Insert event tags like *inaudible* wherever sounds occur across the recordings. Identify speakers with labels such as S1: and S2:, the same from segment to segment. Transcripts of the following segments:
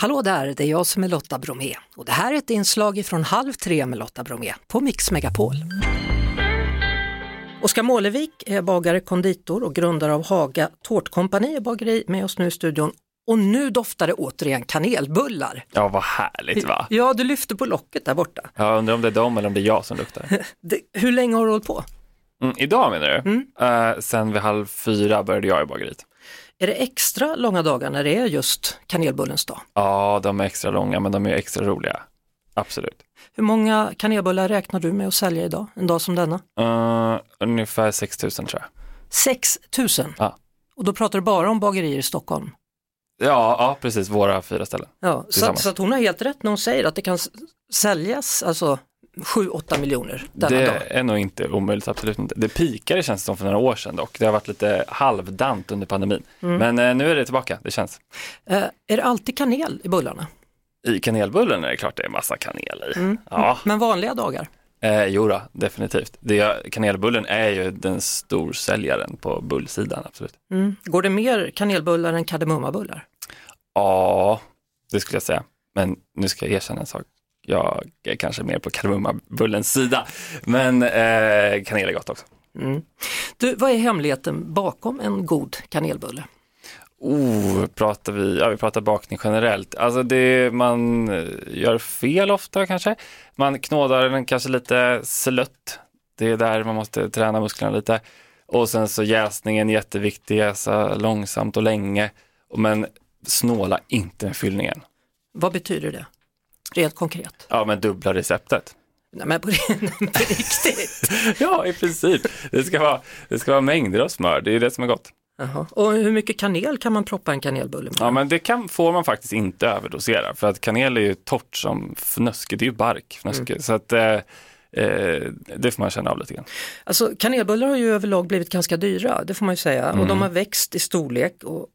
S1: Hallå där, det är jag som är Lotta Bromé och det här är ett inslag från Halv tre med Lotta Bromé på Mix Megapol. Oskar Målevik är bagare, konditor och grundare av Haga Tårtkompani och bageri med oss nu i studion. Och nu doftar det återigen kanelbullar.
S2: Ja, vad härligt
S1: *laughs*
S2: va?
S1: Ja, du lyfter på locket där borta.
S2: Jag undrar om det är dem eller om det är jag
S1: *laughs*
S2: som luktar.
S1: Det, hur länge har du hållit på?
S2: Mm, idag menar du? Eh, sen vid halv fyra började jag i bageriet.
S1: Är det extra långa dagar när det är just kanelbullens dag?
S2: Ja, de är extra långa men de är extra roliga. Absolut.
S1: Hur många kanelbullar räknar du med att sälja idag, en dag som denna?
S2: Eh, ungefär 6 000 tror jag.
S1: 6 000.
S2: Ja.
S1: Och då pratar du bara om bagerier i Stockholm.
S2: Ja, ja, precis, våra fyra ställen.
S1: Ja, så, att,
S2: Tillsammans.
S1: så att hon har helt rätt när hon säger att det kan s- säljas alltså 7-8 miljoner denna
S2: det
S1: dag.
S2: är nog inte omöjligt, absolut inte. Det pikade känns det som för några år sedan dock. Det har varit lite halvdant under pandemin.
S1: Mm.
S2: Men eh, nu är det tillbaka, det känns.
S1: Eh, är det alltid kanel i bullarna?
S2: I kanelbullen är det klart det är massa kanel i.
S1: Mm.
S2: Ja,
S1: Men vanliga dagar?
S2: Eh, jo då, definitivt. Det, kanelbullen är ju den storsäljaren på bullsidan, absolut.
S1: Mm. Går det mer kanelbullar än kardemummabullar?
S2: Ja, det skulle jag säga. Men nu ska jag erkänna en sak. Jag är kanske mer på kardemummabullens sida, men eh, kanel är gott också.
S1: Du, vad är hemligheten bakom en god kanelbulle?
S2: Oh, pratar vi, ja, vi pratar bakning generellt. Alltså det man eh, gör fel ofta kanske. Man knådar den kanske lite slött. Det är där man måste träna musklerna lite. Och sen så jäsningen jätteviktig, jäsa långsamt och länge. Men snåla inte med fyllningen.
S1: Vad betyder det? Rent konkret.
S2: Ja, men dubbla receptet.
S1: Nej men på, *laughs* nej, men på riktigt.
S2: Ja, i princip. Det ska vara, det ska vara mängder av smör, det är det som är gott.
S1: Jaha. Och hur mycket kanel kan man proppa en kanelbulle med?
S2: Ja, men det kan, får man faktiskt inte överdosera för att kanel är ju torrt som fnöske, det är ju bark, fnöske. Så att eh, eh, det får man känna av lite grann.
S1: Alltså, kanelbullar har ju överlag blivit ganska dyra, det får man ju säga, och
S2: Mm.
S1: de har växt i storlek och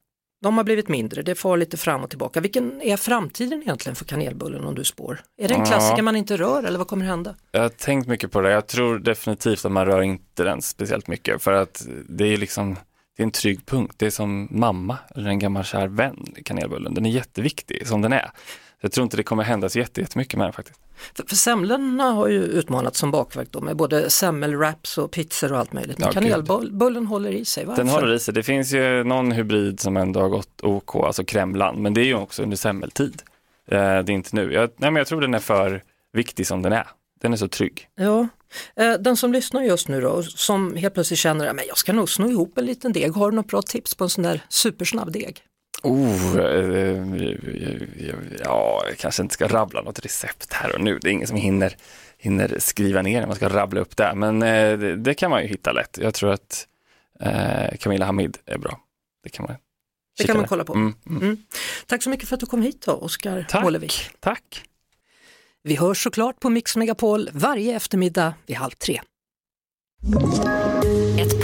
S1: de har blivit mindre, det far lite fram och tillbaka. Vilken är framtiden egentligen för kanelbullen om du spår? Är det en
S2: Ja.
S1: klassiker man inte rör eller vad kommer hända?
S2: Jag har tänkt mycket på det, jag tror definitivt att man rör inte den speciellt mycket för att det är liksom, det är en trygg punkt, det är som mamma eller en gammal kär vän, kanelbullen, den är jätteviktig som den är. Jag tror inte det kommer hända så jätte- jättemycket med den faktiskt.
S1: För, för semlorna har ju utmanats som bakverk då med både semmelwraps och pizzor och allt möjligt. Men
S2: Ja, gud.
S1: kanelbullen håller i sig, varför?
S2: Den håller i sig, det finns ju någon hybrid som ändå har gått OK, alltså Kremlan, men det är ju också under semmeltid. Eh, det är inte nu. Jag, nej, men jag tror den är för viktig som den är. Den är så trygg.
S1: Ja. Eh, Den som lyssnar just nu då, och som helt plötsligt känner att jag ska nog sno ihop en liten deg, har du något bra tips på en sån där supersnabb deg?
S2: Oh, eh, eh, ja, jag kanske inte ska rabbla något recept här och nu. Det är ingen som hinner, hinner skriva ner när man ska rabbla upp det. Men eh, det, det kan man ju hitta lätt. Jag tror att eh, Camilla Hamid är bra. Det kan man,
S1: Det
S2: kika
S1: kan man
S2: där.
S1: kolla på.
S2: Mm, mm.
S1: Tack så mycket för att du kom hit då, Oskar
S2: Tack.
S1: Målevik.
S2: Tack.
S1: Vi hörs såklart på Mix Megapol varje eftermiddag vid halv tre.
S3: Ett